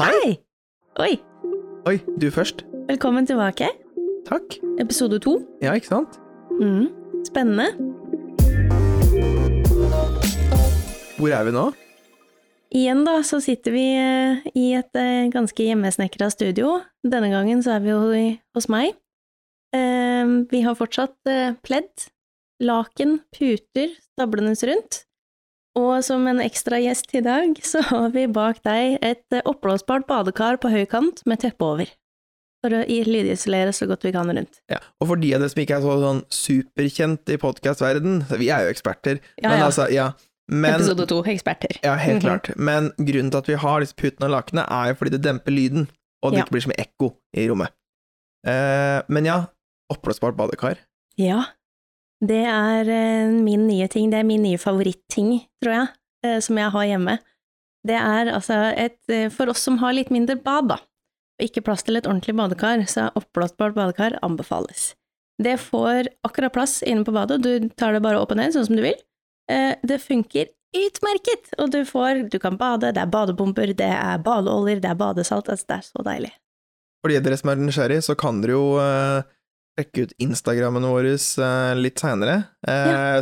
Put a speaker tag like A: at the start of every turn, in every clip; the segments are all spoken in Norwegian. A: Hei!
B: Oi,
A: Oi, du først.
B: velkommen tilbake.
A: Takk.
B: Episode to.
A: Ja, ikke sant?
B: Mm. Spennende.
A: Hvor er vi nå?
B: Igjen da, så sitter vi eh, i et eh, ganske hjemmesnekra studio. Denne gangen så er vi jo i- hos meg. Eh, Vi har fortsatt eh, pledd, laken, puter stablende rundt. Og som en ekstra gjest i dag, så har vi bak deg et eh, oppblåsbart badekar på høy kant med teppe over. For å i- lydisolere så godt vi kan rundt.
A: Ja. Og for de av dere som ikke er så sånn superkjent i podkastverden, så vi er jo eksperter,
B: Ja,
A: men
B: ja.
A: altså, ja. Men,
B: Episode to, eksperter.
A: ja, helt
B: Mhm.
A: klart. Men grunnen til at vi har disse putene og lakene, er jo fordi det demper lyden, og det
B: Ja.
A: ikke blir som ekko i rommet. Eh, men ja, oppblåsbart badekar.
B: Ja. Det er eh, min nye ting. Det er min nye favoritting, tror jeg, eh, som jeg har hjemme. Det er altså et eh, For oss som har litt mindre bad, da, og ikke plass til et ordentlig badekar, så er oppblåsbart badekar anbefales. Det får akkurat plass inne på badet, du tar det bare opp og ned, sånn som du vil. Eh, Det funker utmerket, og du får Du kan bade, det er badebomber, det er badeoljer, det er badesalt, altså det er så deilig.
A: For de av dere som er nysgjerrig, så kan dere jo eh, sjekke ut Instagrammen vår eh, litt seinere.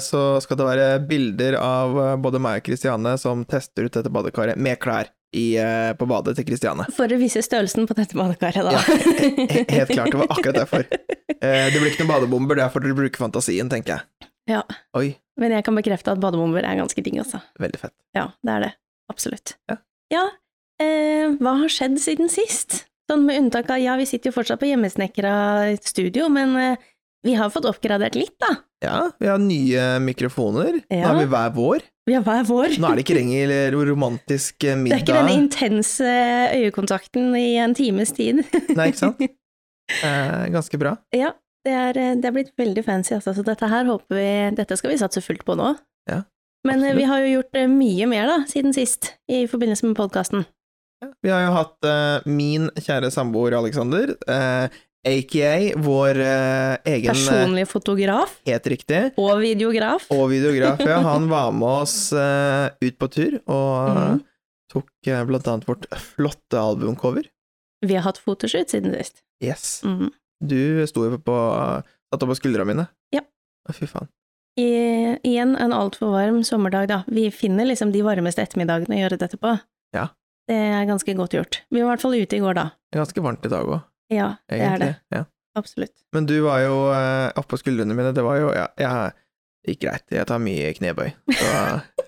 A: Så skal det være bilder av eh, både meg og Kristiane som tester ut dette badekaret med klær i, eh, på badet til Kristiane.
B: For å vise størrelsen på dette badekaret, da.
A: Ja, he- helt klart, det var akkurat derfor. Eh, Det blir ikke noen badebomber, det er for dere bruker fantasien, tenker jeg.
B: Ja.
A: Oi,
B: Men jeg kan bekrefte at badebomber er ganske digg, altså.
A: veldig fett.
B: Ja, det er det. Absolutt.
A: Ja.
B: Ja, eh, hva har skjedd siden sist? Sånn med unntak av ja, vi sitter jo fortsatt på hjemmesnekra studio, men eh, vi har fått oppgradert litt, da.
A: Ja, vi har nye mikrofoner. Nå
B: Ja.
A: har vi hver vår.
B: Vi har hver vår.
A: Nå er det ikke lenger romantisk
B: Det
A: eh,
B: er
A: middag.
B: ikke den intense eh, øyekontakten i en times tid.
A: Nei, ikke sant? Eh, Ganske bra.
B: ja, det er, eh, det er blitt veldig fancy, altså. Så dette her håper vi Dette skal vi satse fullt på nå.
A: Ja,
B: Men eh,
A: absolutt.
B: vi har jo gjort eh, mye mer, da, siden sist, i forbindelse med podkasten.
A: Vi har jo hatt eh, min kjære samboer Alexander, eh, aka vår eh, egen eh,
B: Personlig fotograf
A: Helt riktig.
B: og videograf.
A: Og videograf, ja. Han var med oss eh, ut på tur, og eh,
B: Mhm.
A: tok eh, blant annet vårt flotte albumcover.
B: Vi har hatt fotoshoot siden sist.
A: Yes.
B: Mhm.
A: Du sto jo på Satt opp på skuldra mine.
B: Ja.
A: Å, fy faen.
B: I, igjen en altfor varm sommerdag, da. Vi finner liksom de varmeste ettermiddagene å gjøre dette på.
A: Ja.
B: Det er ganske godt gjort. Vi var i hvert fall ute i går, da.
A: Det er ganske varmt i dag òg,
B: Ja, det er
A: egentlig.
B: det.
A: Ja.
B: Absolutt.
A: Men du var jo eh, oppå skuldrene mine, det var jo ja, jeg, Det gikk greit, jeg tar mye knebøy. Så,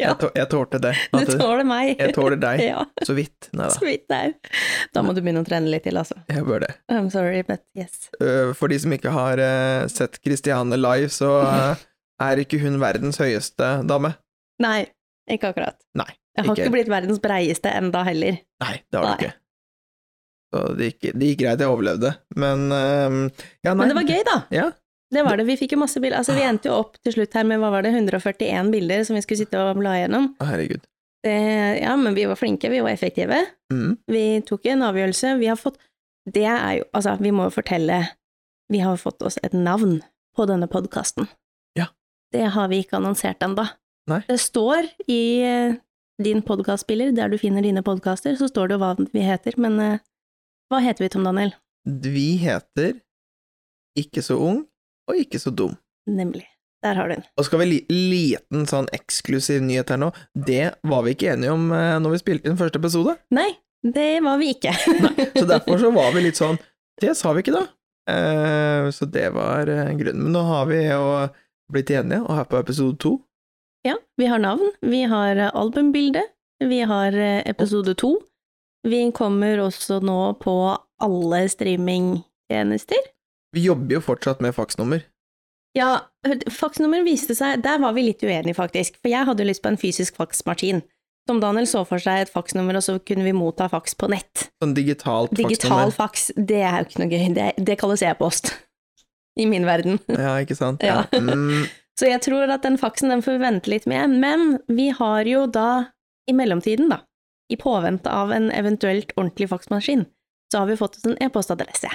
B: Ja.
A: jeg, tå- jeg tålte det.
B: Du
A: At-
B: tåler meg.
A: Jeg tåler deg.
B: ja,
A: Så vidt. Nei
B: så
A: da,
B: vidt det er. Da må du begynne å trene litt til, altså.
A: jeg bør det.
B: I'm sorry, but yes.
A: Øh, For de som ikke har eh, sett Christiane live, så eh, er ikke hun verdens høyeste dame.
B: Nei, ikke akkurat.
A: Nei,
B: Jeg har
A: ikke
B: ikke blitt verdens breieste enda heller.
A: Nei, det har
B: Nei.
A: du ikke. Så det gikk, det gikk greit, jeg overlevde. Men ehm, ja, nei.
B: Men det var gøy, da.
A: Ja. Ah.
B: Det var det. Vi fikk jo masse bilder. Altså, vi endte jo opp til slutt her med hva var det, 141 bilder som vi skulle sitte og bla gjennom.
A: Å, Herregud.
B: Det, ja, men vi var flinke, vi var effektive.
A: Mm.
B: Vi tok en avgjørelse. Vi har fått Det er jo Altså, vi må jo fortelle Vi har fått oss et navn på denne podkasten.
A: Ja.
B: Det har vi ikke annonsert ennå.
A: Nei.
B: Det står i eh, din podkastspiller, der du finner dine podkaster, så står det jo hva vi heter, men eh, hva heter vi, Tom Daniel?
A: Vi heter Ikke så ung og ikke så dum.
B: Nemlig. Der har du den.
A: Og skal vi li liten sånn eksklusiv nyhet her nå. Det var vi ikke enige om uh, når vi spilte inn første episode.
B: Nei, det var vi ikke.
A: Så derfor så var vi litt sånn Det sa vi ikke, da. Eh, så det var eh, grunnen. Men nå har vi jo blitt enige, og her på episode to
B: Ja, vi har navn, vi har eh, albumbilde, vi har eh, episode to. Vi kommer også nå på alle streamingtjenester.
A: Vi jobber jo fortsatt med faksnummer.
B: Ja, faksnummer viste seg Der var vi litt uenige, faktisk. For jeg hadde lyst på en fysisk faksmaskin. Som Daniel så for seg et faksnummer, og så kunne vi motta faks på nett.
A: Sånn digitalt
B: Digital
A: faksnummer.
B: faks, det er jo ikke noe gøy. Det, det kalles e-post. I min verden.
A: Ja, ikke sant?
B: Ja.
A: Mm,
B: Så jeg tror at den faksen den får vi vente litt med, men vi har jo da, i mellomtiden da, i påvente av en eventuelt ordentlig faksmaskin, så har vi fått oss en e-postadresse.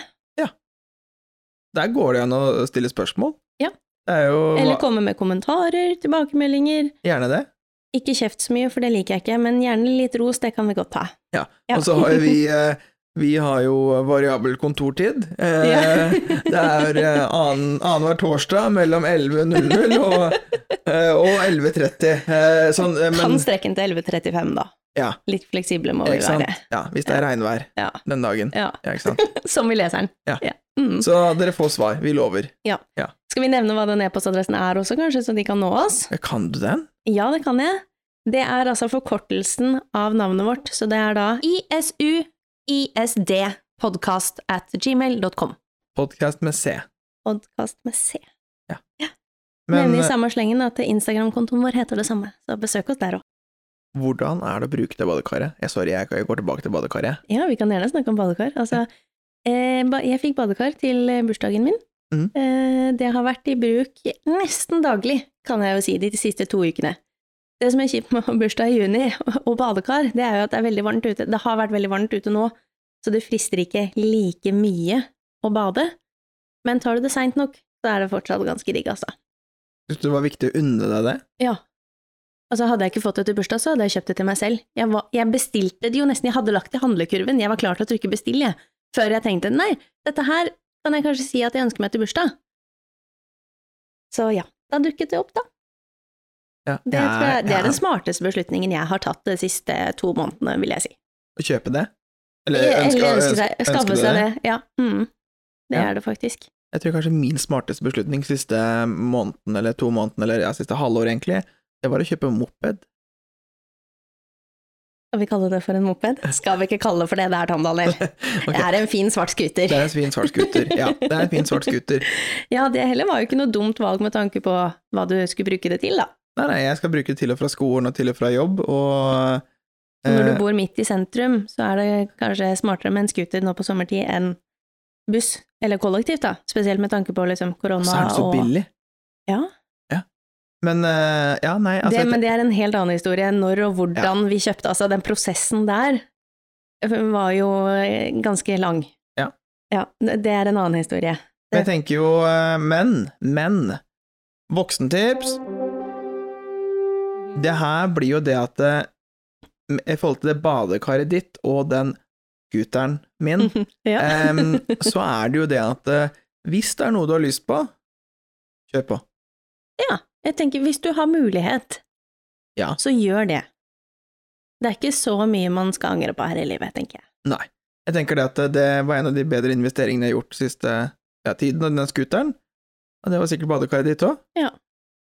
A: der går det an å stille spørsmål.
B: Ja.
A: Det er jo
B: Eller komme med kommentarer, tilbakemeldinger,
A: gjerne det.
B: Ikke kjeft så mye, for det liker jeg ikke, men gjerne litt ros, det kan vi godt ta.
A: Ja,
B: Ja.
A: Og så har jo vi eh, Vi har jo variabel kontortid. Eh, det er eh, annen- annenhver torsdag mellom 11.00 og, eh, og 11.30. Eh, sånn, eh,
B: Kan
A: men
B: strekken til 11.35, da.
A: Ja.
B: Litt fleksible må vi
A: ikke sant?
B: være.
A: Ja, hvis det er regnvær
B: Ja.
A: den dagen.
B: Ja.
A: Ja, ikke sant?
B: Som i leseren.
A: Ja.
B: Mm.
A: Så dere får svar. Vi lover.
B: Skal vi nevne hva den e-postadressen er også, kanskje, så de kan nå oss?
A: Kan du den?
B: Ja, det kan jeg. Det er altså forkortelsen av navnet vårt, så det er da isuisdpodkast at gmail.com.
A: Podkast med C.
B: Podkast med C.
A: Men
B: Nevner i
A: eh,
B: samme slengen at Instagram-kontoen vår heter det samme, så besøk oss der òg.
A: eh, hvordan er det å bruke det badekaret? Jeg, sorry, jeg jeg går tilbake til badekaret.
B: Ja, vi kan gjerne snakke om badekar. Altså, eh, ba- jeg fikk badekar til eh, bursdagen min.
A: Mhm.
B: Eh, det har vært i bruk nesten daglig, kan jeg jo si, de siste to ukene. Det som er kjipt med å ha bursdag i juni og badekar, det er jo at det er veldig varmt ute. Det har vært veldig varmt ute nå, så det frister ikke like mye å bade. Men tar du det seint nok, så er det fortsatt ganske digg, altså.
A: Syns du det var viktig å unne deg det?
B: Ja. Altså, hadde jeg ikke fått det til bursdag, så hadde jeg kjøpt det til meg selv. Jeg, var, jeg bestilte det jo nesten, jeg hadde lagt det i handlekurven, jeg var klar til å trykke bestill, jeg, før jeg tenkte nei, dette her kan jeg kanskje si at jeg ønsker meg til bursdag. Så ja, da dukket det opp, da.
A: Ja,
B: Det, tror jeg, det er
A: ja.
B: den smarteste beslutningen jeg har tatt de siste to månedene, vil jeg si.
A: Å kjøpe det?
B: Eller ønske seg,
A: ønsker
B: skaffe
A: du
B: seg det. Ja. Mm. Det
A: Ja.
B: er det faktisk.
A: Jeg tror kanskje min smarteste beslutning siste måneden, eller to månedene, eller ja, siste halvår egentlig, det var å kjøpe moped.
B: Skal vi kalle det for en moped? Skal vi ikke kalle det for det det er, Tandalel?
A: Ok.
B: Det er en fin svart skuter.
A: Det er en fin svart scooter. Ja, det er en fin svart scooter.
B: Ja, det heller var jo ikke noe dumt valg med tanke på hva du skulle bruke det til, da.
A: Nei, nei, jeg skal bruke det til og fra skolen og til og fra jobb, og
B: Så når
A: eh,
B: du bor midt i sentrum, så er det kanskje smartere med en scooter nå på sommertid enn buss eller kollektivt, da. Spesielt med tanke på liksom korona
A: så er det så
B: og
A: billig.
B: Ja.
A: Men eh, ja, nei, altså
B: det,
A: jeg
B: Men det er en helt annen historie. Når og hvordan vi kjøpte. Altså, den prosessen der var jo eh, ganske lang.
A: Ja.
B: ja. Det er en annen historie.
A: Men jeg tenker jo eh, Men, men Voksentips Det her blir jo det at eh, I forhold til det badekaret ditt og den scooteren min,
B: Ja.
A: em, så er det jo det at eh, hvis det er noe du har lyst på, kjør på.
B: Jeg tenker, hvis du har mulighet,
A: Ja.
B: så gjør det. Det er ikke så mye man skal angre på her i livet, tenker jeg.
A: Nei. Jeg tenker det at eh, det var en av de bedre investeringene jeg har gjort siste ja, tiden, og den scooteren. Og det var sikkert badekaret ditt òg.
B: Det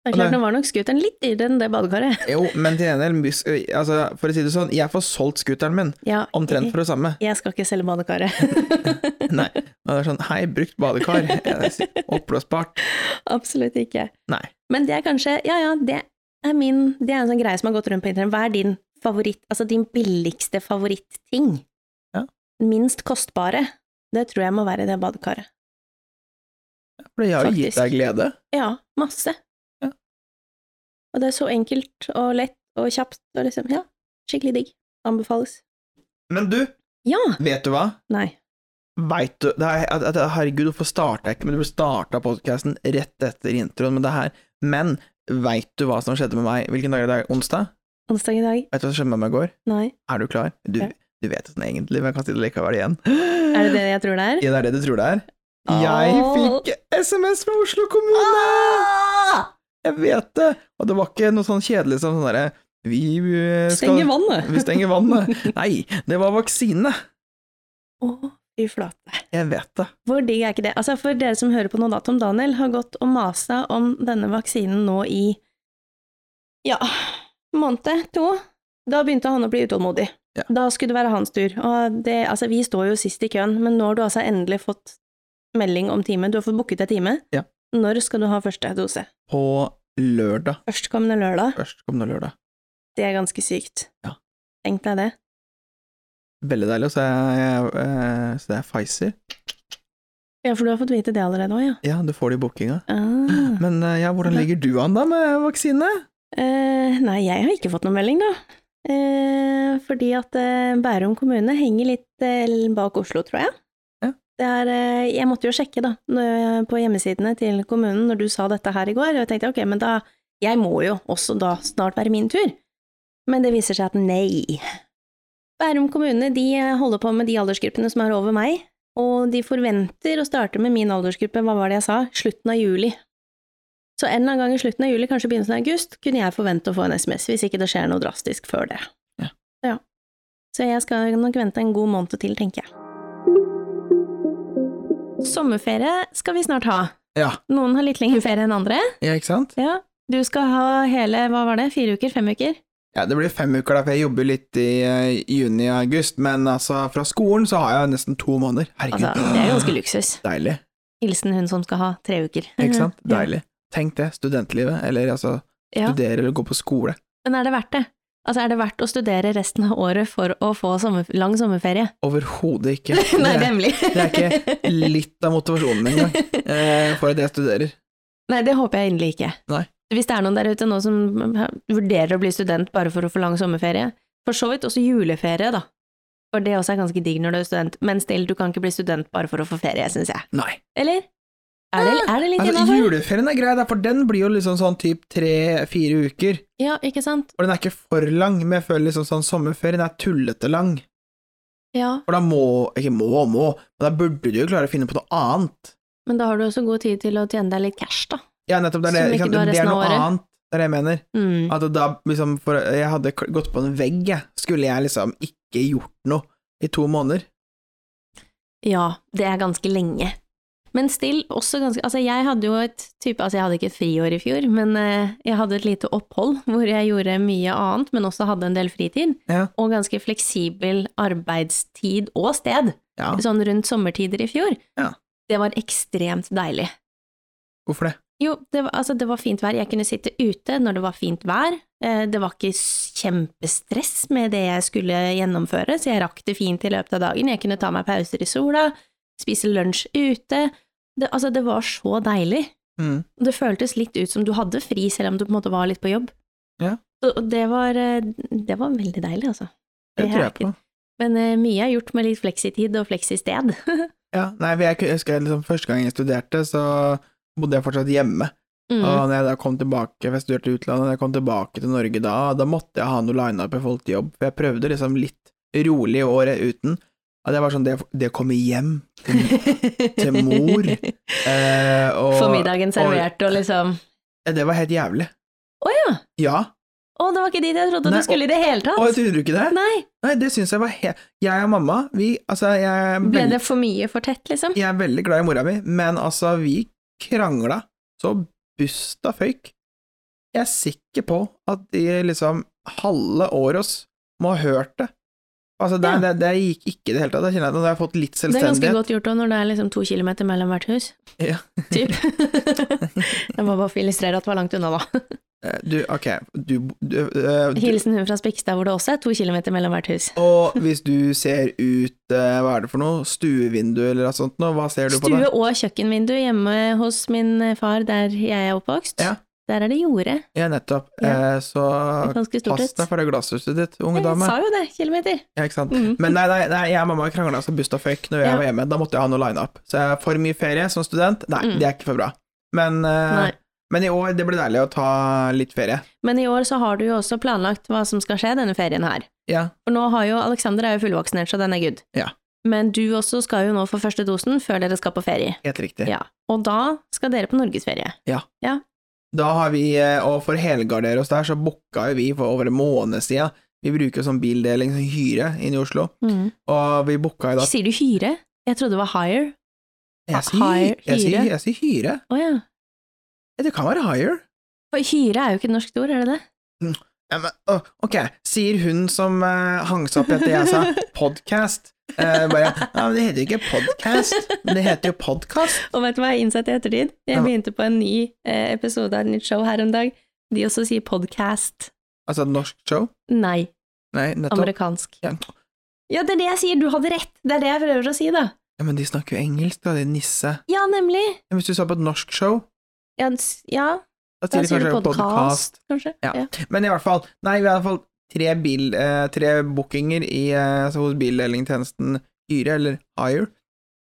B: er
A: Og
B: klart,
A: det-
B: nå var nok scooteren litt dyrere enn det badekaret.
A: Jo, men til en del, mys- altså, for å si det sånn, jeg får solgt scooteren min
B: Ja,
A: omtrent for det samme.
B: Jeg skal ikke selge badekaret.
A: Nei. Og det er sånn, hei, brukt badekar. Jeg sier, Oppblåsbart.
B: Absolutt ikke.
A: Nei.
B: Men det er kanskje Ja, ja, det er min Det er en sånn greie som har gått rundt på internett. Hva er din favoritt Altså din billigste favoritting?
A: Ja.
B: Minst kostbare. Det tror jeg må være det badekaret.
A: For jeg har jo gitt
B: Faktisk.
A: deg glede.
B: Ja, masse.
A: Ja.
B: Og det er så enkelt og lett og kjapt og liksom, ja, skikkelig digg. Anbefales.
A: Men du,
B: Ja!
A: vet du hva?
B: Nei.
A: Veit du det er, at, at, Herregud, hvorfor starta jeg ikke? Men du starta podkasten rett etter introen med det her. Men veit du hva som skjedde med meg? Hvilken dag er det? i dag? Onsdag?
B: Onsdag i dag?
A: Vet du hva som skjedde med meg i går?
B: Nei.
A: Er du klar? Du,
B: Ja.
A: du vet det sånn egentlig, men jeg kan si det likevel igjen.
B: Er det det jeg tror det er?
A: Ja, det er det du tror det er? Jeg
B: Åh.
A: fikk SMS fra Oslo kommune!
B: Ah!
A: Jeg vet det! Og det var ikke noe sånn kjedelig som sånn derre Vi eh, skal
B: Stenger vannet!
A: Vi stenger vannet. Nei, det var vaksine.
B: Å, fy flate.
A: Jeg vet det.
B: Hvor digg er ikke det? Altså, for dere som hører på nå, da, Tom Daniel har gått og masa om denne vaksinen nå i ja, måned, to. Da begynte han å bli utålmodig.
A: Ja.
B: Da skulle det være hans tur. Og det, altså, vi står jo sist i køen, men nå har du altså endelig fått melding om time. Du har fått booket deg time.
A: Ja.
B: Når skal du ha første dose?
A: På lørdag.
B: Førstkommende lørdag.
A: Førstkommende lørdag.
B: Det er ganske sykt.
A: Ja.
B: Tenk deg det.
A: Veldig deilig. Og så er jeg, eh, så det er Pfizer.
B: Ja, for du har fått vite det allerede òg, ja.
A: Ja, du får det i bookinga.
B: Ah.
A: Men eh, ja, hvordan ligger du an da med vaksine?
B: Eh, nei, jeg har ikke fått noen melding, da. Eh, fordi at eh, Bærum kommune henger litt eh, bak Oslo, tror jeg.
A: Ja.
B: Det er, eh, jeg måtte jo sjekke da, når jeg, på hjemmesidene til kommunen når du sa dette her i går, og jeg tenkte ok, men da Jeg må jo også da snart være min tur. Men det viser seg at nei. Bærum kommune de eh, holder på med de aldersgruppene som er over meg, og de forventer å starte med min aldersgruppe, hva var det jeg sa, slutten av juli. Så en eller annen gang i slutten av juli, kanskje begynnelsen av august, kunne jeg forvente å få en SMS, hvis ikke det skjer noe drastisk før det.
A: Ja.
B: ja. Så jeg skal nok vente en god måned til, tenker jeg. Sommerferie skal vi snart ha.
A: Ja.
B: Noen har litt lengre ferie enn andre.
A: ja, ikke sant?
B: Ja. Du skal ha hele, hva var det, fire uker? Fem uker?
A: Ja, det blir fem uker da, for jeg jobber litt i eh, juni og august, men altså, fra skolen så har jeg nesten to måneder. Herregud.
B: Altså, det er ganske luksus.
A: Deilig,
B: Hilsen hun som skal ha tre uker.
A: ikke sant?
B: Mm, Ja.
A: Deilig. Tenk det, studentlivet, eller altså,
B: Ja.
A: studere eller gå på skole.
B: Men er det verdt det? Altså, er det verdt å studere resten av året for å få sommer, lang sommerferie?
A: Overhodet ikke.
B: Nei,
A: Det
B: nemlig.
A: det er ikke litt av motivasjonen min engang, eh, for at jeg studerer.
B: Nei, det håper jeg inderlig ikke.
A: Nei.
B: Hvis det er noen der ute nå som vurderer å bli student bare for å få lang sommerferie, for så vidt også juleferie, da. For det også er ganske digg når du er student, men still, du kan ikke bli student bare for å få ferie, syns jeg.
A: Nei.
B: Eller? Er det, er det litt
A: Altså,
B: innafor?
A: juleferien er grei, da, for den blir jo liksom sånn typ tre-fire uker.
B: Ja, ikke sant?
A: Og den er ikke for lang, men jeg føler liksom sånn sommerferien er tullete lang.
B: Ja,
A: For da må Ikke må og må, men da burde du jo klare å finne på noe annet.
B: men da har du også god tid til å tjene deg litt cash, da.
A: Ja, nettopp. Det
B: Som
A: er, det,
B: ikke
A: ikke sant?
B: du har
A: det
B: resten
A: er
B: av
A: noe
B: året.
A: annet. Det er det jeg mener.
B: Mm.
A: At da liksom for Jeg hadde k- gått på en vegg, jeg. Skulle jeg liksom ikke gjort noe i to måneder?
B: Ja, det er ganske lenge. Men still, også ganske Altså, jeg hadde jo et type Altså, jeg hadde ikke et friår i fjor, men eh, jeg hadde et lite opphold hvor jeg gjorde mye annet, men også hadde en del fritid.
A: Ja.
B: Og ganske fleksibel arbeidstid og sted,
A: Ja.
B: sånn rundt sommertider i fjor.
A: Ja.
B: Det var ekstremt deilig.
A: Hvorfor det?
B: Jo, det var, altså, det var fint vær. Jeg kunne sitte ute når det var fint vær. Eh, Det var ikke s- kjempestress med det jeg skulle gjennomføre, så jeg rakk det fint i løpet av dagen. Jeg kunne ta meg pauser i sola, spise lunsj ute. Det, altså, det var så deilig.
A: Mm.
B: Og Det føltes litt ut som du hadde fri, selv om du på en måte var litt på jobb.
A: Ja.
B: Så- Og det var, eh, det var veldig deilig, altså.
A: Det
B: Det
A: tror
B: er
A: jeg på.
B: Men eh, mye er gjort med litt fleksitid og fleksisted.
A: Ja, nei, for jeg ku- husker jeg liksom første gang jeg studerte, så bodde jeg fortsatt hjemme.
B: Mm.
A: Og når jeg da kom tilbake, for jeg studerte i utlandet, når jeg kom tilbake til Norge da, da måtte jeg ha noe line-up i forhold til jobb, for jeg prøvde liksom litt rolig året uten. At jeg var sånn, det, det å komme hjem til mor, eh, og,
B: Få middagen servert og liksom
A: Ja, Det var helt jævlig.
B: Å ja!
A: Ja.
B: Å, det var ikke dit jeg trodde
A: Nei,
B: du skulle i det hele tatt!
A: Og jeg trodde du ikke det?
B: Nei,
A: Nei, det syns jeg var helt Jeg og mamma, vi Altså, jeg er,
B: ble
A: veldig,
B: det for mye for tett, liksom?
A: jeg er veldig glad i mora mi, men altså, vi krangla så busta føyk. Jeg er sikker på at de liksom halve Åros må ha hørt det. Altså, det,
B: Ja.
A: det, det gikk ikke i det hele tatt. Jeg kjenner at nå har jeg fått litt
B: Det er ganske
A: selvstendighet.
B: godt gjort òg, når det er liksom to kilometer mellom hvert hus.
A: Ja.
B: Typ. det var bare for å illustrere at det var langt unna, da.
A: Eh, Du, ok, du, du, eh, du
B: Hilsen hun fra Spikstad, hvor det også er to kilometer mellom hvert hus.
A: Og hvis du ser ut eh, Hva er det for noe? Stuevindu eller noe sånt nå? Hva ser du på
B: Stue
A: det?
B: og kjøkkenvindu hjemme hos min far, der jeg er oppvokst.
A: Ja.
B: Der er det jorde.
A: Ja, nettopp.
B: Ja.
A: Eh, så
B: Et Ganske stort
A: pass
B: et.
A: deg for det glasshuset ditt, unge
B: Jeg
A: dame.
B: sa jo det, kilometer.
A: Ja, ikke sant?
B: Mm.
A: Men nei, nei, nei jeg og mamma krangla så busta føyk når jeg
B: Ja.
A: var hjemme. Da måtte jeg ha noe line-up. Så jeg for mye ferie som student, nei,
B: Mm.
A: det er ikke for bra. Men, eh,
B: Nei.
A: men i år, det ble deilig å ta litt ferie.
B: Men i år så har du jo også planlagt hva som skal skje denne ferien her.
A: Ja.
B: For nå har jo Alexander er jo fullvaksinert, så den er good.
A: Ja.
B: Men du også skal jo nå få første dosen før dere skal på ferie.
A: Helt riktig.
B: Ja. Og da skal dere på norgesferie.
A: Da har vi, eh, og for å helgardere oss der, så booka jo vi for over en måned siden. Vi bruker jo sånn bildeling, sånn hyre, inne i Oslo.
B: Mm.
A: Og vi booka jo da
B: Sier du hyre? Jeg trodde det var hire.
A: Jeg sier,
B: Hire-
A: hy- jeg, sier,
B: hyre.
A: jeg sier hyre.
B: Å ja.
A: Ja, Det kan være hire.
B: For hyre er jo ikke et norsk ord, er det det?
A: Ja, men, å, ok, sier hun som eh, hang seg opp i at jeg sa podcast. Eh, bare, ja, men det heter jo ikke podcast, men det heter jo podcast.
B: Og vet du hva jeg har innsett i ettertid?
A: Ja,
B: Jeg
A: hva-
B: begynte på en ny eh, episode av et nytt show her om dag. De også sier podcast.
A: Altså et norsk show?
B: Nei,
A: Nei, nettopp.
B: amerikansk.
A: Ja.
B: Ja, det er det jeg sier, du hadde rett! Det er det jeg prøver å si, da.
A: Ja, men de snakker jo engelsk, da, de nisse.
B: Ja, nemlig.
A: Ja, hvis du sa på et norsk show,
B: Ja, s- ja da
A: da sier de
B: sier du
A: kanskje podcast.
B: podkast, kanskje.
A: Ja. Men i hvert fall, nei, vi har i hvert fall tre, bil, eh, tre bookinger i, eh, altså hos bildelingtjenesten Hyre, eller Hire.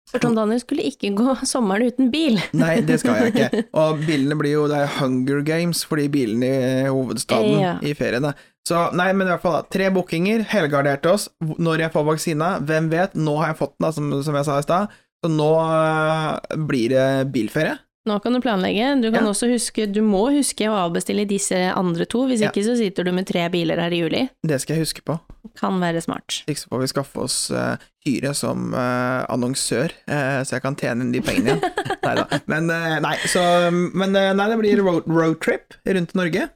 B: For Tom Daniel skulle ikke gå sommeren uten bil.
A: Nei, det skal jeg ikke. Og bilene blir jo Det er Hunger Games for de bilene i hovedstaden
B: Ja.
A: i feriene. Så nei, men i hvert fall da, tre bookinger, helgarderte oss. Hvor- Når jeg får vaksina, hvem vet? Nå har jeg fått den, da, som, som jeg sa i stad. Så nå øh, blir det bilferie.
B: Nå kan du planlegge. Du kan
A: Ja.
B: også huske, du må huske å avbestille disse andre to, hvis
A: Ja.
B: ikke så sitter du med tre biler her i juli.
A: Det skal jeg huske på.
B: Kan være smart.
A: Ikke så får vi skaffe oss øh, hyre som øh, annonsør, øh, så jeg kan tjene inn de pengene igjen. Neida. Men, øh, nei, så, men øh, nei, det blir road, roadtrip rundt Norge.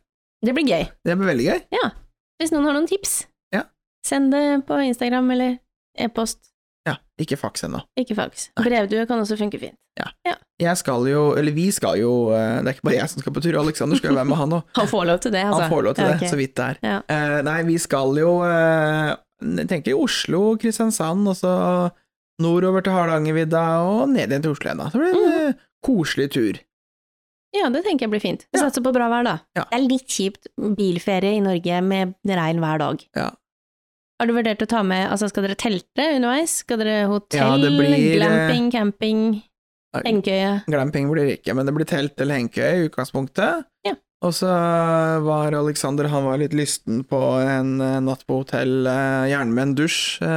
B: Det blir gøy.
A: Det blir veldig gøy.
B: Hvis noen har noen tips,
A: Ja.
B: send det på Instagram eller e-post.
A: Ja, ikke faks ennå.
B: Ikke fax. Brevdue kan også funke fint.
A: Jeg skal jo, eller vi skal jo, øh, det er ikke bare jeg som skal på tur, Alexander skal jo være med han òg.
B: Han får lov til det, altså.
A: Han får lov til
B: Ja,
A: det,
B: ok.
A: så vidt det er.
B: Ja.
A: Eh, nei, vi skal jo eh, Jeg tenker Oslo, Kristiansand, og så nordover til Hardangervidda og ned igjen til Oslo igjen, da. Så blir
B: Mhm.
A: det en eh, koselig tur.
B: Ja, det tenker jeg blir fint. Vi
A: Ja.
B: satser på bra vær, da.
A: Ja.
B: Det er litt kjipt bilferie i Norge med regn hver dag.
A: Ja.
B: Har du vurdert å ta med Altså, skal dere telte underveis? Skal dere
A: Ja,
B: hotell,
A: det blir, eh,
B: glamping, camping, hengekøye?
A: Glamping blir det ikke, men det blir telt eller hengekøye i utgangspunktet.
B: Ja.
A: Og så var Alexander han var litt lysten på en eh, natt på hotell, eh, gjerne med en dusj eh,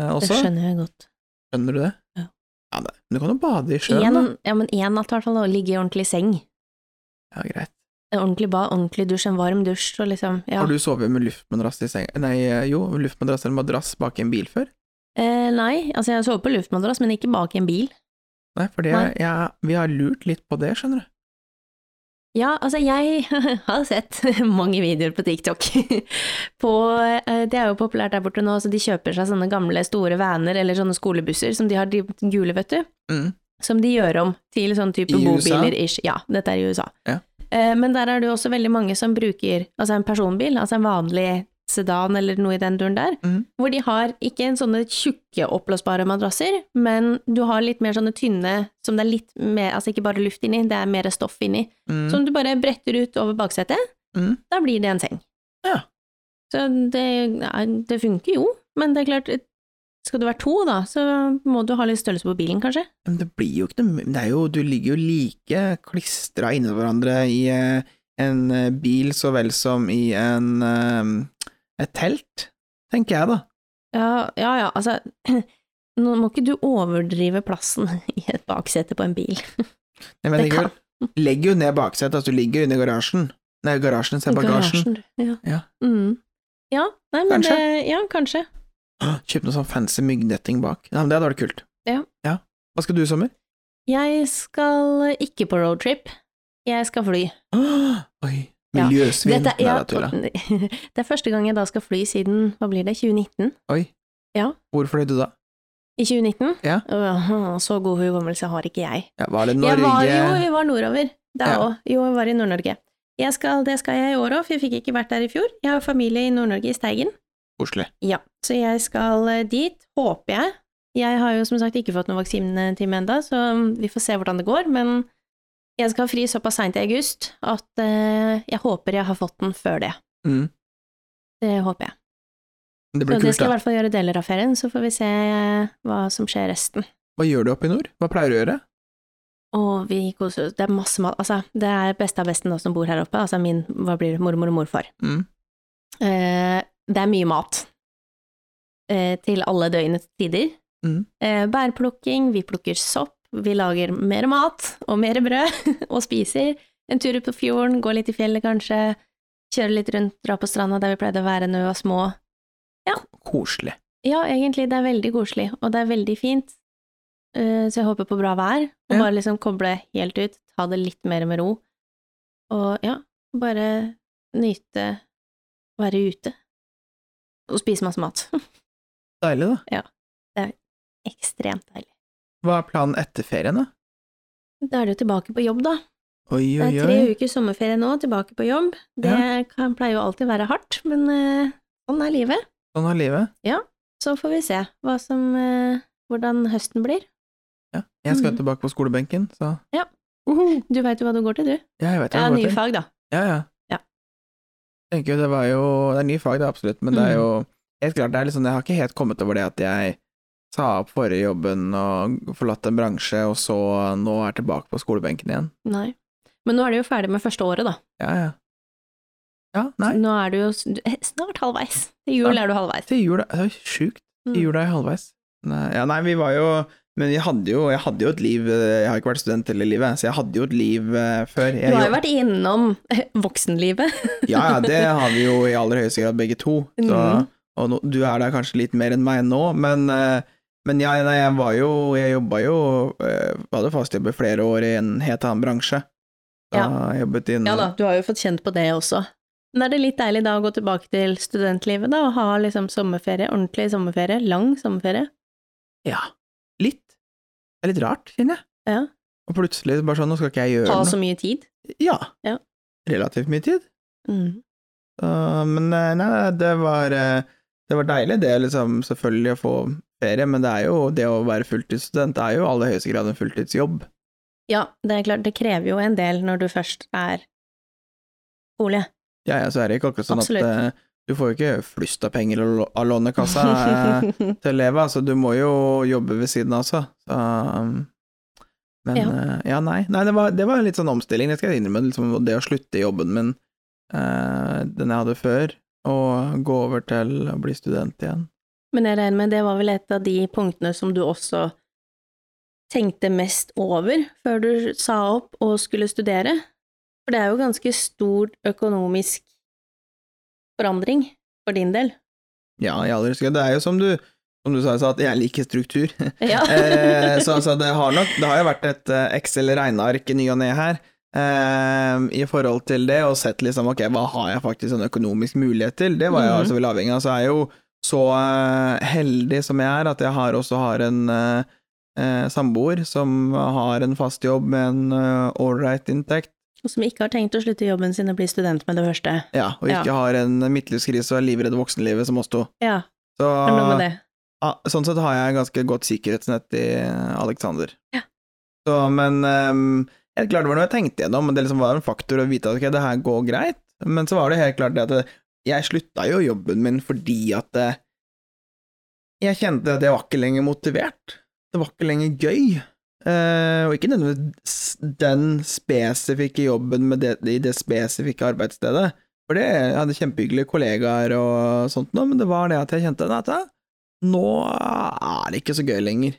B: Det
A: også.
B: skjønner jeg godt.
A: Skjønner du det?
B: Ja.
A: ja det. Men du kan jo bade i sjøen,
B: Én,
A: da.
B: ja, men én natt, i hvert fall, og ligge i ordentlig seng.
A: Ja, greit.
B: En Ordentlig bad, ordentlig dusj, en varm dusj, og liksom Ja.
A: Har du sovet med luftmadrass i senga Nei, jo, luftmadrass eller madrass bak en bil før?
B: Eh, nei, altså, jeg sover på luftmadrass, men ikke bak i en bil.
A: Nei, for det,
B: Nei.
A: jeg, vi har lurt litt på det, skjønner du.
B: Ja, altså jeg har sett mange videoer på TikTok. På, eh, det er jo populært der borte nå, så de kjøper seg sånne gamle store vaner eller sånne skolebusser som de har, de gule, vet du.
A: Mm,
B: Som de gjør om til sånn type
A: I USA?
B: bobiler-ish. Ja, dette er i USA.
A: Ja.
B: Eh, Men der er det jo også veldig mange som bruker altså en personbil, altså en vanlig sedan eller noe i den duren der,
A: Mhm.
B: hvor de har ikke en sånne tjukke oppblåsbare madrasser, men du har litt mer sånne tynne som det er litt mer, altså ikke bare luft inni, det er mer stoff inni.
A: Mm.
B: Som du bare bretter ut over baksetet.
A: Mm.
B: Da blir det en seng.
A: Ja.
B: Så det, ja, det funker jo, men det er klart Skal du være to, da, så må du ha litt størrelse på bilen, kanskje.
A: Men det blir jo ikke noe det er jo, Du ligger jo like klistra inni hverandre i eh, en eh, bil så vel som i en, eh, et telt, tenker jeg da.
B: Ja, ja, ja altså Nå må ikke du overdrive plassen i et baksete på en bil.
A: Nei, men
B: Det
A: Jeg mener, legger jo ned baksetet, altså du ligger jo inni garasjen. Nei, garasjen, se bagasjen.
B: Garasjen, Ja.
A: Ja.
B: Mm. ja, nei, men
A: Kanskje.
B: det Ja, kanskje.
A: Åh, Kjøp noe sånn fancy myggnetting bak. Ja, men det hadde vært kult.
B: Ja.
A: Hva skal du i sommer?
B: Jeg skal ikke på roadtrip. Jeg skal fly.
A: Åh, Oi,
B: Ja.
A: miljøsvin.
B: Dette, ja,
A: Nei, da tuller jeg.
B: det er første gang jeg da skal fly siden, hva blir det, 2019?
A: Oi.
B: Ja.
A: Hvor fløy du da?
B: I 2019?
A: Ja.
B: Åh, så god hukommelse har ikke jeg.
A: Ja, var det
B: Jeg
A: Norge?
B: var jo vi var nordover da
A: Ja.
B: òg. Jo, jeg var i Nord-Norge. Jeg skal, det skal jeg i år òg, for jeg fikk ikke vært der i fjor. Jeg har familie i Nord-Norge, i Steigen.
A: Koselig.
B: Ja, så jeg skal eh, dit, håper jeg. Jeg har jo som sagt ikke fått noen vaksinetime enda, så mm, vi får se hvordan det går, men jeg skal ha fri såpass seint i august at eh, jeg håper jeg har fått den før det.
A: Mm.
B: Det håper jeg.
A: Det
B: Så
A: blir
B: det
A: kult,
B: skal jeg i
A: da.
B: hvert fall gjøre deler av ferien, så får vi se eh, hva som skjer resten.
A: Hva gjør du oppe i nord? Hva pleier du å gjøre?
B: Og vi koser oss. Det er masse mat. Altså, det er beste av besten nå som bor her oppe. Altså min hva blir det, mormor og morfar.
A: Mm.
B: Eh, det er mye mat. Eh, til alle døgnets tider.
A: Mm.
B: Eh, bærplukking, vi plukker sopp, vi lager mer mat og mer brød og spiser. En tur ut på fjorden, gå litt i fjellet kanskje. Kjøre litt rundt, dra på stranda der vi pleide å være når vi var små.
A: Koselig.
B: Ja, egentlig, det er veldig koselig, og det er veldig fint. Eh, Så jeg håper på bra vær, og
A: Ja.
B: bare liksom koble helt ut, ta det litt mer med ro. Og ja, bare nyte å være ute. Og spise masse mat.
A: Deilig, da.
B: Ekstremt deilig.
A: Hva er planen etter ferien, da?
B: Da er du tilbake på jobb, da.
A: Oi,
B: Det
A: oi,
B: er
A: oi.
B: tre uker sommerferie nå, tilbake på jobb. Det kan, pleier jo alltid å være hardt, men eh, sånn er livet.
A: Sånn er livet.
B: Så får vi se hva som, eh, hvordan høsten blir.
A: Ja. Jeg skal
B: Mm.
A: tilbake på skolebenken, så
B: Ja.
A: Uhu.
B: Du veit jo hva du går til, du.
A: ja jeg vet hva
B: Ja,
A: jeg går
B: nye
A: til.
B: fag, da.
A: Ja, ja.
B: Ja.
A: Tenker jo, det var jo Det er nye fag, det, absolutt, men det
B: Mm.
A: er jo helt klart, det er litt sånn, jeg har ikke helt kommet over det at jeg sa opp forrige jobben og forlatt en bransje, og så nå er jeg tilbake på skolebenken igjen.
B: Nei. Men nå er du jo ferdig med første året, da.
A: Ja, ja. Ja, nei.
B: Nå er du jo s- du- eh, snart halvveis. Til jul
A: Snart.
B: er du halvveis.
A: Til jula Det er jo sjukt. Til
B: Mm.
A: jula er jeg halvveis. Nei, ja, nei, vi var jo Men vi hadde jo, jeg hadde jo et liv eh, Jeg har ikke vært student hele livet, så jeg hadde jo et liv eh, før.
B: Du
A: Jeg,
B: har jo vært innom eh, voksenlivet.
A: Ja, ja, det har vi jo i aller høyeste grad begge to. Så,
B: Mhm.
A: Og nå- du er der kanskje litt mer enn meg nå, men, eh, men ja, nei, jeg var jo Jeg jobba jo eh, Hadde fast jobb i flere år i en helt annen bransje. Da
B: Ja.
A: jeg jobbet inn
B: Ja da, du har jo fått kjent på det også. Men er det litt deilig da å gå tilbake til studentlivet da, og ha liksom sommerferie, ordentlig sommerferie, lang sommerferie?
A: Ja. Litt. Det er litt rart, kjenner jeg.
B: Ja.
A: Og plutselig bare sånn, nå skal ikke jeg gjøre
B: Ha
A: noe.
B: så mye tid?
A: Ja.
B: Ja.
A: Relativt mye tid.
B: Mm.
A: Uh, men eh, nei, nei, det var, eh, det var deilig, det liksom, selvfølgelig å få ferie, men det er jo det å være fulltidsstudent er jo i aller høyeste grad en fulltidsjobb.
B: Ja, det er klart, det krever jo en del når du først er skole.
A: Ja, ja, så er det ikke akkurat sånn
B: Absolutt.
A: at eh, du får jo ikke flust av penger av lå- av lånekassa eh, til å leve, altså du må jo jobbe ved siden av også. Så, um, men
B: Ja.
A: ja, ja nei, nei det, var, det var litt sånn omstilling, det skal jeg innrømme, liksom, det å slutte i jobben min, eh, den jeg hadde før, og gå over til å bli student igjen.
B: Men jeg regner med det var vel et av de punktene som du også tenkte mest over før du sa opp og skulle studere? For det er jo ganske stor økonomisk forandring for din del.
A: Ja, i aller høyeste grad. Det er jo som du, som du sa, i stad, at jeg liker struktur.
B: Ja.
A: Eh, så altså, det har nok Det har jo vært et eh, Excel-regneark i ny og ne her. eh, I forhold til det, og sett liksom ok, hva har jeg faktisk sånn økonomisk mulighet til? Det var jeg
B: Mhm.
A: altså vel avhengig av. Så er jeg jo så eh, heldig som jeg er, at jeg har også har en eh, eh, samboer som har en fast jobb med en ålreit inntekt.
B: Og som ikke har tenkt å slutte jobben sin og bli student med det første.
A: Ja, og ikke
B: Ja.
A: har en midtlivskrise og er livredd voksenlivet som oss to.
B: Ja,
A: Så
B: det er noe med det.
A: Ja, sånn sett har jeg ganske godt sikkerhetsnett i eh, Alexander.
B: Ja.
A: Så, men ehm, helt klart det var noe jeg tenkte gjennom, men det liksom var en faktor å vite at ok, det her går greit. Men så var det helt klart det at det- jeg slutta jo jobben min fordi at eh, jeg kjente at jeg var ikke lenger motivert. Det var ikke lenger gøy. Eh, og ikke nødvendigvis den spesifikke jobben med det, i det spesifikke arbeidsstedet. For det, jeg hadde kjempehyggelige kollegaer og sånt, nå, men det var det at jeg kjente at eh, nå er det ikke så gøy lenger.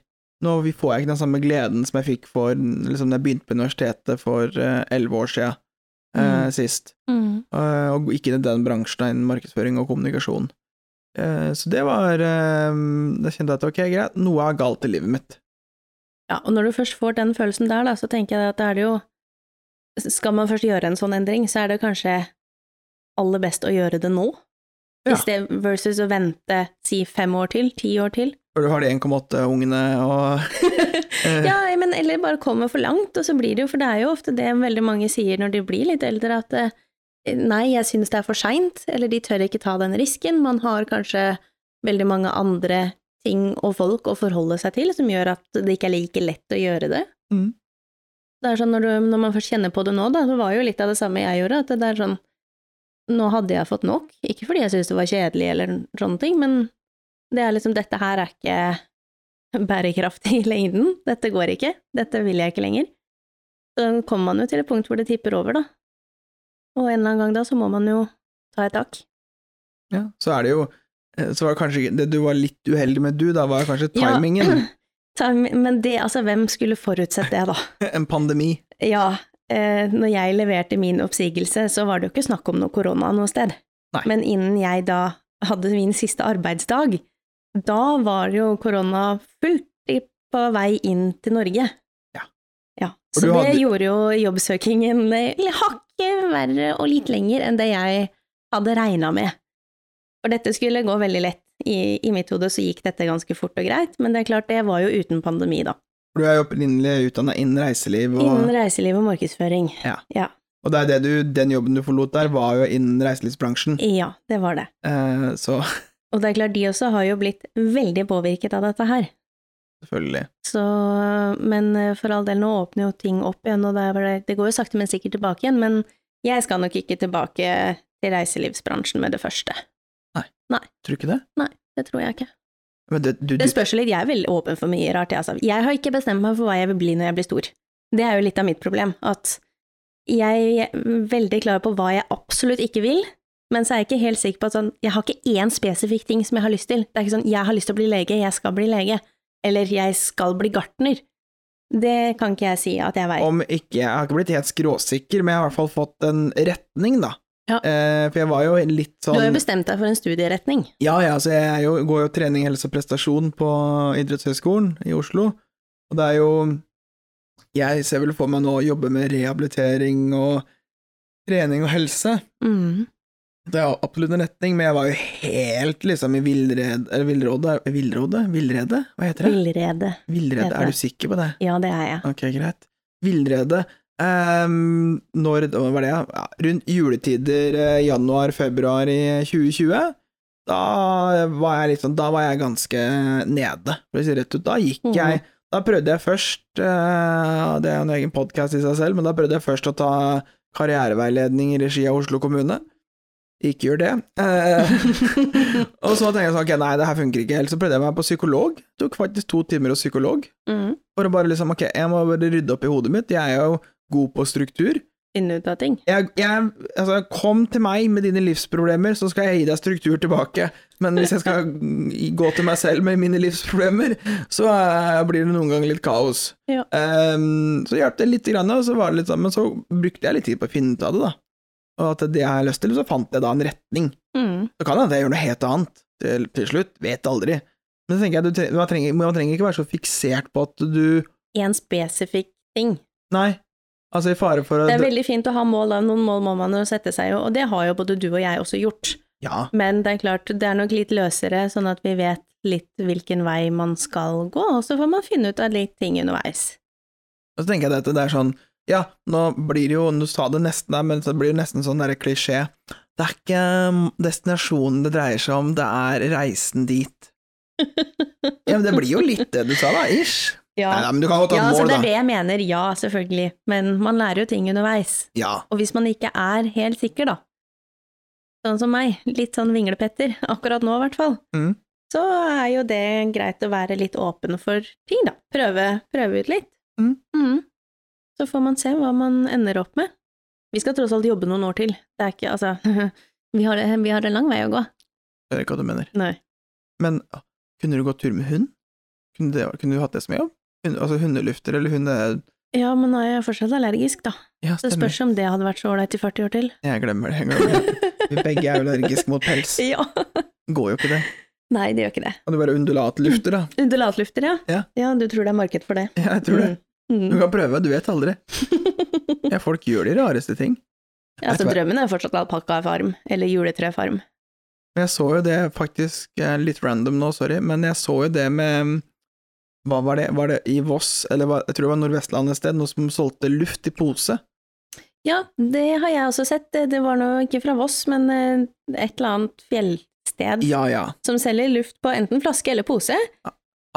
A: Nå vi får jeg ikke den samme gleden som jeg fikk for, liksom, da jeg begynte på universitetet for elleve år siden eh,
B: Mm.
A: sist.
B: Mm.
A: Eh, og ikke i den bransjen da, innen markedsføring og kommunikasjon. Eh, så det var eh, Da kjente jeg at ok, greit, noe er galt i livet mitt.
B: Ja, og når du først får den følelsen der, da, så tenker jeg at da er det jo Skal man først gjøre en sånn endring, så er det kanskje aller best å gjøre det nå.
A: Ja.
B: I sted versus å vente si fem år til, ti år til.
A: For du har de 1,8-ungene og eh,
B: ja, men eller bare kommer for langt, og så blir det jo For det er jo ofte det veldig mange sier når de blir litt eldre, at eh, nei, jeg synes det er for seint, eller de tør ikke ta den risken. Man har kanskje veldig mange andre ting og folk å forholde seg til som gjør at det ikke er like lett å gjøre det.
A: Mm.
B: Det er sånn når, du, når man først kjenner på det nå, da, det var jo litt av det samme jeg gjorde, at det er sånn Nå hadde jeg fått nok, ikke fordi jeg syntes det var kjedelig eller sånne ting, men det er liksom Dette her er ikke bærekraftig i lengden. Dette går ikke. Dette vil jeg ikke lenger. Så kommer man jo til et punkt hvor det tipper over, da. Og en eller annen gang da så må man jo ta et tak.
A: ja, Så er det jo eh, Så var det kanskje ikke Det du var litt uheldig med, du, da, var kanskje
B: Ja.
A: timingen.
B: Ta- Men det, altså, hvem skulle forutsett det, da?
A: en pandemi.
B: Ja, eh, når jeg leverte min oppsigelse, så var det jo ikke snakk om noe korona noe sted.
A: Nei.
B: Men innen jeg da hadde min siste arbeidsdag, da var jo korona fullt i- på vei inn til Norge.
A: Ja.
B: Ja,
A: For
B: Så
A: du
B: det
A: hadde-
B: gjorde jo jobbsøkingen eh, hakket verre og litt lenger enn det jeg hadde regna med. For dette skulle gå veldig lett. I, I mitt hode så gikk dette ganske fort og greit, men det er klart, det var jo uten pandemi, da.
A: For du er jo opprinnelig utdanna innen reiseliv, og,
B: Innen reiseliv og markedsføring.
A: og det er det du, den jobben du forlot der, var jo innen reiselivsbransjen.
B: Ja, det var det.
A: Eh, så
B: Og det er klart, de også har jo blitt veldig påvirket av dette her.
A: selvfølgelig.
B: Så, men eh, for all del, nå åpner jo ting opp igjen, og det, er bare, det går jo sakte, men sikkert tilbake igjen. Men jeg skal nok ikke tilbake til reiselivsbransjen med det første.
A: Tror du ikke det?
B: Det tror jeg ikke.
A: Men det, du,
B: Det
A: du,
B: spørs jo litt, jeg er veldig åpen for mye rart. Jeg, altså. jeg har ikke bestemt meg for hva jeg vil bli når jeg blir stor. Det er jo litt av mitt problem, at jeg er veldig klar på hva jeg absolutt ikke vil, Men så er jeg ikke helt sikker på at sånn, jeg har ikke én spesifikk ting som jeg har lyst til. Det er ikke sånn 'jeg har lyst til å bli lege, jeg skal bli lege', eller 'jeg skal bli gartner'. Det kan ikke jeg si at jeg veit.
A: Om ikke Jeg har ikke blitt helt skråsikker, men jeg har i hvert fall fått en retning, da.
B: Ja.
A: Eh, for jeg var jo litt
B: Du
A: sånn
B: har jo bestemt deg for en studieretning.
A: Ja, ja, så jeg er jo, går jo trening, helse og prestasjon på idrettshøyskolen i Oslo, og det er jo Jeg ser vel for meg nå å jobbe med rehabilitering og trening og helse.
B: Mm.
A: Det er absolutt en retning, men jeg var jo helt liksom i villred- eller villrådet Villrådet? Villrede? Hva heter det?
B: Villrede.
A: Villrede,
B: heter
A: er
B: det.
A: du sikker på det?
B: Ja, det er jeg.
A: Ok, greit. Villrede. Um, når hva var det, ja? Ja, Rundt juletider, eh, januar, februar i 2020, da var jeg litt sånn, da var jeg ganske nede, for å si det rett ut. Da gikk
B: Mhm.
A: jeg, da prøvde jeg først, eh, det er en egen podcast i seg selv, men da prøvde jeg først å ta karriereveiledning i regi av Oslo kommune. Ikke gjør det. Eh, og så tenkte jeg sånn, ok, nei, det her funker ikke helt. Så prøvde jeg meg på psykolog. Tok faktisk to timer hos psykolog.
B: Mm.
A: For å bare liksom, ok, jeg må bare rydde opp i hodet mitt, jeg er jo god på struktur.
B: Finne ut av ting.
A: Jeg, jeg, altså, kom til meg med dine livsproblemer, så skal jeg gi deg struktur tilbake. Men hvis jeg skal gå til meg selv med mine livsproblemer, så eh, blir det noen ganger litt kaos.
B: Ja.
A: Ehm, så hjalp det litt, grann, og så var det litt sånn, men så brukte jeg litt tid på å finne ut av det, da. Og at det jeg har lyst til, så fant jeg da en retning.
B: Mm.
A: Så kan det hende jeg gjør noe helt annet til, til slutt, vet aldri. Men så tenker jeg, du, tre- man, trenger, man trenger ikke være så fiksert på at du
B: En spesifikk ting.
A: Nei. Altså, i fare for å
B: Det er veldig fint å ha mål, da. Noen mål må man jo sette seg, jo, og det har jo både du og jeg også gjort.
A: Ja.
B: Men det er klart, det er nok litt løsere, sånn at vi vet litt hvilken vei man skal gå, og så får man finne ut av litt ting underveis.
A: Og så tenker jeg at det er sånn Ja, nå blir det jo Du sa det nesten der, men så blir det nesten sånn derre klisjé. Det er ikke mm, destinasjonen det dreier seg om, det er reisen dit. Ja, men det blir jo litt det du sa, da. Ish.
B: Ja,
A: Nei, nei, men du kan godt
B: ja
A: ta et
B: altså,
A: mål,
B: det er
A: da.
B: det jeg mener, ja, selvfølgelig, men man lærer jo ting underveis.
A: Ja.
B: Og hvis man ikke er helt sikker, da, sånn som meg, litt sånn vinglepetter, akkurat nå i hvert fall,
A: Mm.
B: så er jo det greit å være litt åpen for ting, da. Prøve, prøve ut litt.
A: Mm.
B: Mm. Så får man se hva man ender opp med. Vi skal tross alt jobbe noen år til. Det er ikke, altså Vi har, vi har en lang vei å gå.
A: Jeg hører ikke hva du mener.
B: Nei.
A: Men ja, kunne du gått tur med hund? Kunne, det, kunne du hatt det som jobb? Hund, altså hundelufter eller hunde...
B: Ja, men nå er jeg fortsatt allergisk, da.
A: Ja,
B: Så det
A: stemmer.
B: spørs om det hadde vært så ålreit i 40 år til.
A: Jeg glemmer det. Jeg glemmer det. Vi begge er jo allergiske mot pels.
B: ja.
A: Går jo ikke det.
B: Nei, det gjør ikke det.
A: Kan du være undulatlufter, da?
B: Undulatlufter, ja.
A: Ja.
B: du tror det er marked for det.
A: Ja, jeg tror det.
B: Mm.
A: Du
B: Mm.
A: kan prøve, du vet aldri. Ja, folk gjør de rareste ting.
B: altså,
A: Vet du hva?
B: drømmen er fortsatt alpakkafarm, eller juletrefarm.
A: Men jeg så jo det faktisk eh, litt random nå, sorry, men jeg så jo det med mm, Hva var det, var det i Voss, eller hva, jeg tror det var Nordvestlandet et sted, noe som solgte luft i pose?
B: Ja, det har jeg også sett. Det det var nå ikke fra Voss, men eh, et eller annet fjellsted
A: Ja, ja.
B: som selger luft på enten flaske eller pose.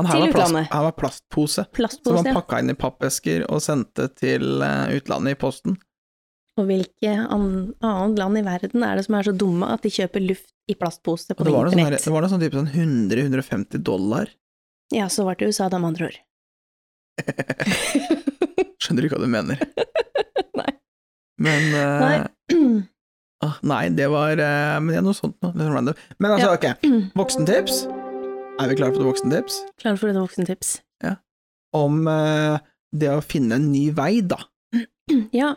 A: Han her
B: Til
A: var, plast,
B: utlandet.
A: han var plastpose, som
B: Plastpose.
A: han
B: ja.
A: pakka inn i pappesker og sendte til eh, utlandet i posten.
B: Og hvilke an annet land i verden er det som er så dumme at de kjøper luft i plastpose
A: Og
B: på
A: det var noe sånn, her-
B: internett?
A: det var noe sånn type sånn 100-150 dollar.
B: Ja, så var det USA, da, med andre ord.
A: Skjønner du ikke hva du mener?
B: Nei.
A: Men eh,
B: Nei. Mm.
A: ah, nei, det var eh, Men det er noe sånt noe. Litt sånn random. Men altså,
B: Ja.
A: ok. Voksentips? Er vi klare for et voksentips?
B: Klar for et voksentips.
A: Om eh, det å finne en ny vei, da.
B: Ja,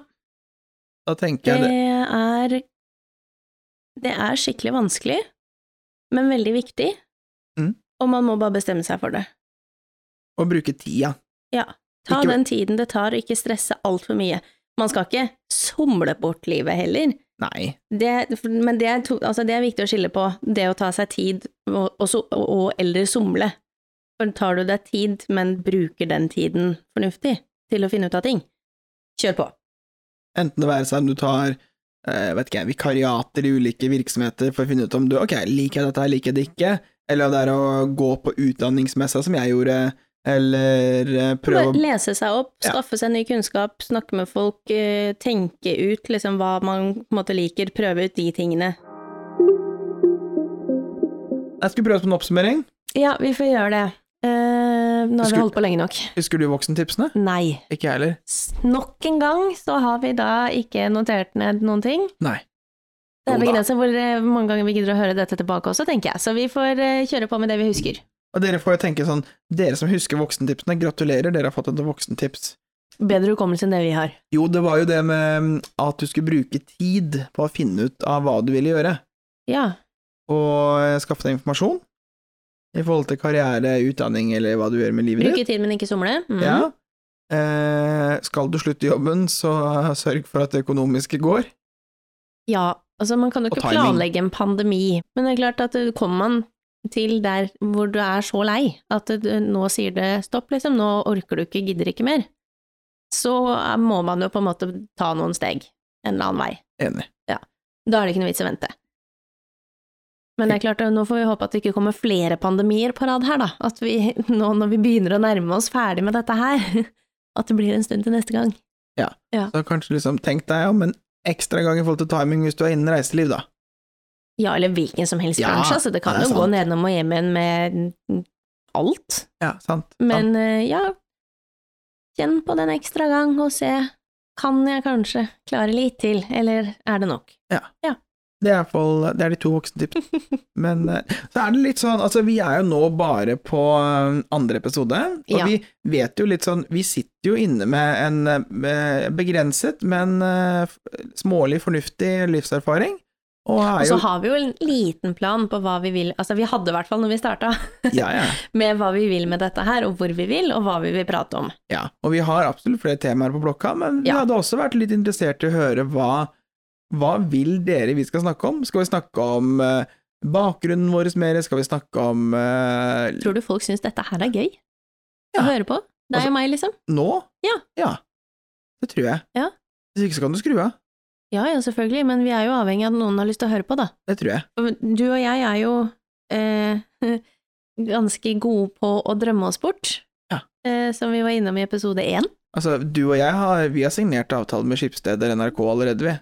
A: Da tenker
B: det
A: jeg det.
B: er Det er skikkelig vanskelig, men veldig viktig,
A: Mm.
B: og man må bare bestemme seg for det. Eh.
A: Å bruke tida.
B: Ta
A: Ikke-
B: den tiden det tar, og ikke stresse altfor mye. Man skal ikke somle bort livet heller,
A: Nei.
B: det, men det er, to, altså det er viktig å skille på, det å ta seg tid og, og, so- og eller somle. For tar du deg tid, men bruker den tiden fornuftig til å finne ut av ting, kjør på.
A: Enten det være seg om du tar eh, vet ikke, jeg, vikariater i ulike virksomheter for å finne ut om du ok, liker jeg dette, her, liker jeg det ikke, eller om det er å gå på utdanningsmessa, som jeg gjorde, eller eh, prøve
B: Bare
A: å
B: lese seg opp,
A: Ja.
B: skaffe seg ny kunnskap, snakke med folk, eh, tenke ut liksom hva man på en måte liker, prøve ut de tingene.
A: Jeg skulle prøve oss på en oppsummering.
B: Ja, vi får gjøre det. Eh, nå har vi
A: Skulle-
B: holdt på lenge nok.
A: Husker du voksentipsene?
B: Nei.
A: Ikke jeg heller.
B: S- Nok en gang så har vi da ikke notert ned noen ting.
A: Nei.
B: Det er
A: Jo da.
B: begrenset hvor eh, mange ganger vi gidder å høre dette tilbake også, tenker jeg. Så vi får eh, kjøre på med det vi husker.
A: Og dere får jo tenke sånn, dere som husker voksentipsene, gratulerer, dere har fått et voksentips.
B: Bedre hukommelse enn det vi har.
A: Jo, det var jo det med mm, at du skulle bruke tid på å finne ut av hva du ville gjøre,
B: Ja.
A: og skaffe deg informasjon i forhold til karriere, utdanning eller hva du gjør med livet ditt.
B: Bruke tid, men ikke somle. Mm.
A: Ja. Eh, skal du slutte jobben, så sørg for at det økonomiske går.
B: Ja, altså man kan jo
A: Og
B: ikke
A: timing.
B: planlegge en pandemi, men det er klart at uh, kommer man til der hvor du er så lei at du nå sier det stopp, liksom, nå orker du ikke, gidder ikke mer, så uh, må man jo på en måte ta noen steg en eller annen vei.
A: Enig.
B: Da er det ikke noe vits i å vente. Men det er klart, uh, nå får vi håpe at det ikke kommer flere pandemier på rad her, da. At vi nå når vi begynner å nærme oss ferdig med dette her, at det blir en stund til neste gang.
A: Så kanskje liksom tenk deg om en ekstra gang i forhold til timing hvis du er innen reiseliv, da.
B: Ja, eller hvilken som helst
A: Ja,
B: bransje. Altså, det kan
A: det er
B: jo gå
A: sant.
B: nedenom og hjem igjen med alt.
A: Ja, sant. sant.
B: Men eh, ja, kjenn på den ekstra gang og se. Kan jeg kanskje klare litt til, eller er det nok?
A: Det er i hvert fall det er de to voksentipsene. Men eh, så er det litt sånn, altså vi er jo nå bare på eh, andre episode, og
B: Ja.
A: vi vet jo litt sånn, vi sitter jo inne med en eh, med begrenset, men eh, f- smålig fornuftig livserfaring, og
B: Og
A: er
B: så
A: jo
B: har vi jo en liten plan på hva vi vil, altså vi hadde i hvert fall når vi starta,
A: Ja, ja.
B: med hva vi vil med dette her, og hvor vi vil, og hva vi vil prate om.
A: Ja, og vi har absolutt flere temaer på blokka, men vi
B: Ja.
A: hadde også vært litt interessert i å høre hva, hva vil dere vi skal snakke om? Skal vi snakke om eh, bakgrunnen vår mer? Skal vi snakke om eh,
B: Tror du folk syns dette her er gøy?
A: Ja.
B: Å høre på? Deg
A: Altså-
B: og meg, liksom?
A: nå?
B: Ja.
A: Det tror jeg.
B: Ja.
A: Hvis ikke så kan du skru av.
B: Ja ja, selvfølgelig, men vi er jo avhengig av at noen har lyst til å høre på, da.
A: Det tror jeg.
B: Og Du og jeg er jo eh, ganske gode på å drømme oss bort,
A: Ja.
B: eh, som vi var innom i episode én.
A: Altså, du og jeg har, vi har signert avtale med Skipssteder NRK allerede, vi.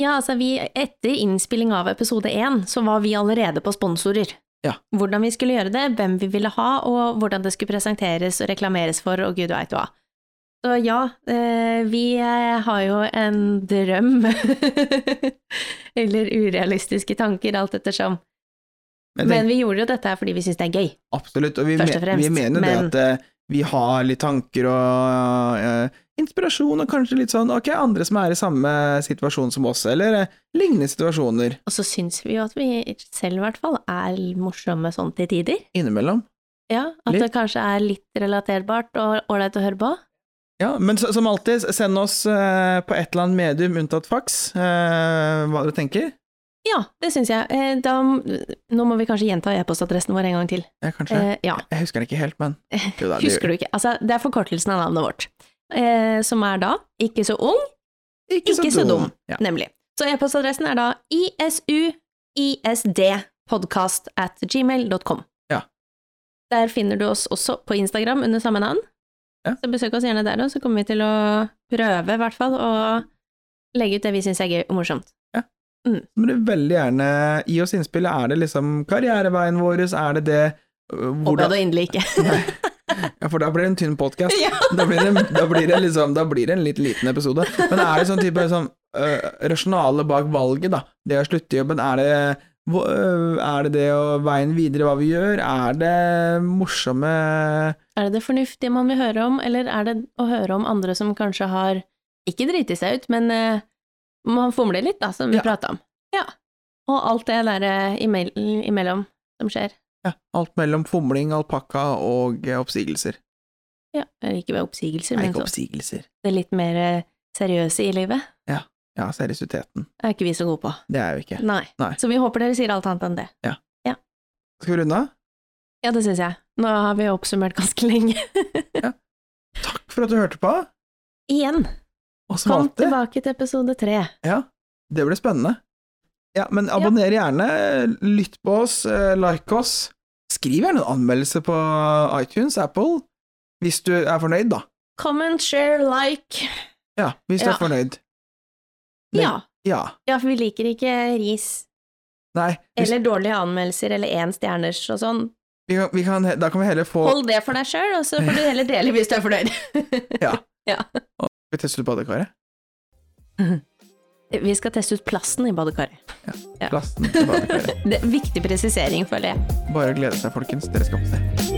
B: Ja, altså vi, etter innspilling av episode én, så var vi allerede på sponsorer.
A: Ja.
B: Hvordan vi skulle gjøre det, hvem vi ville ha, og hvordan det skulle presenteres og reklameres for, og gud veit hva. Så ja, eh, vi eh, har jo en drøm, eller urealistiske tanker, alt ettersom.
A: Men
B: Men
A: tenk,
B: vi gjorde jo dette her fordi vi syns det er gøy.
A: absolutt, og vi,
B: Først og
A: men- vi
B: fremst,
A: mener det
B: men-
A: at eh, vi har litt tanker og eh, inspirasjon, og kanskje litt sånn, ok, andre som er i samme situasjon som oss, eller eh, lignende situasjoner.
B: Og så syns vi jo at vi selv i hvert fall er morsomme sånn til tider.
A: Innimellom.
B: Ja, At det kanskje er litt relaterbart og ålreit å høre på.
A: Ja, men så, som alltid, send oss eh, på et eller annet medium unntatt fax eh, hva dere tenker.
B: Ja, det syns jeg. Eh, Da, nå må vi kanskje gjenta e-postadressen vår en gang til.
A: Ja, kanskje.
B: Eh, ja,
A: jeg husker den ikke helt, men jo da, det
B: Husker
A: gjør-
B: du ikke? Altså, det er forkortelsen av navnet vårt. Eh, som er da ikke så ung, ikke så dum.
A: Ja.
B: nemlig. Så e-postadressen er da isuisdpodkast at gmail.com.
A: Ja.
B: Der finner du oss også på Instagram under samme navn.
A: Ja.
B: Så besøk oss gjerne der, og så kommer vi til å prøve, i hvert fall, å legge ut det vi syns er gøy og morsomt.
A: Men du veldig gjerne gi oss innspill. Er det liksom karriereveien vår, er det det eh,
B: Håper jeg
A: hvordan,
B: da inderlig ikke.
A: ja, For da blir det en tynn podkast.
B: Ja.
A: Da, blir det- da blir det liksom Da blir det en litt liten episode. Men er det sånn type liksom, eh, rasjonale bak valget, da? Det å slutte i jobben, er det hvor- eh, er det det å veien videre, hva vi gjør? Er det morsomme
B: Er det det fornuftige man vil høre om, eller er det å høre om andre som kanskje har ikke driti seg ut, men eh, man fomler litt, da, som vi
A: Ja.
B: prata om. Ja. Og alt det der eh, imell imellom som skjer.
A: ja, Alt mellom fomling, alpakka og eh, oppsigelser.
B: Ja. Eller ikke ved oppsigelser,
A: Nei,
B: men så,
A: ikke oppsigelser.
B: det litt mer eh, seriøse i livet
A: Ja, seriøsiteten.
B: er ikke vi så gode på.
A: Det er jo ikke.
B: Nei.
A: Nei.
B: Så vi håper dere sier alt annet enn det.
A: Skal vi runde av?
B: Ja, det syns jeg. Nå har vi oppsummert ganske lenge.
A: Takk for at du hørte på,
B: Igjen,
A: og som
B: kom
A: alltid
B: tilbake til episode tre.
A: Ja, det blir spennende. Ja, men abonner gjerne, lytt på oss, eh, like oss. Skriv gjerne en anmeldelse på iTunes, Apple, hvis du er fornøyd, da.
B: Comment, share, like.
A: Ja, hvis du
B: Ja.
A: er fornøyd. Men-
B: Ja.
A: Ja.
B: ja, for vi liker ikke ris.
A: Nei, hvis,
B: Eller dårlige anmeldelser, eller én stjerners og sånn.
A: vi kan, vi kan, da kan vi heller få
B: Hold det for deg sjøl, og så får du heller dele hvis du er fornøyd.
A: Vi tester ut badekaret.
B: Vi skal teste ut plasten i badekaret.
A: Plasten til badekaret.
B: Det er viktig presisering, føler jeg.
A: Bare glede seg, folkens. Dere skal få se.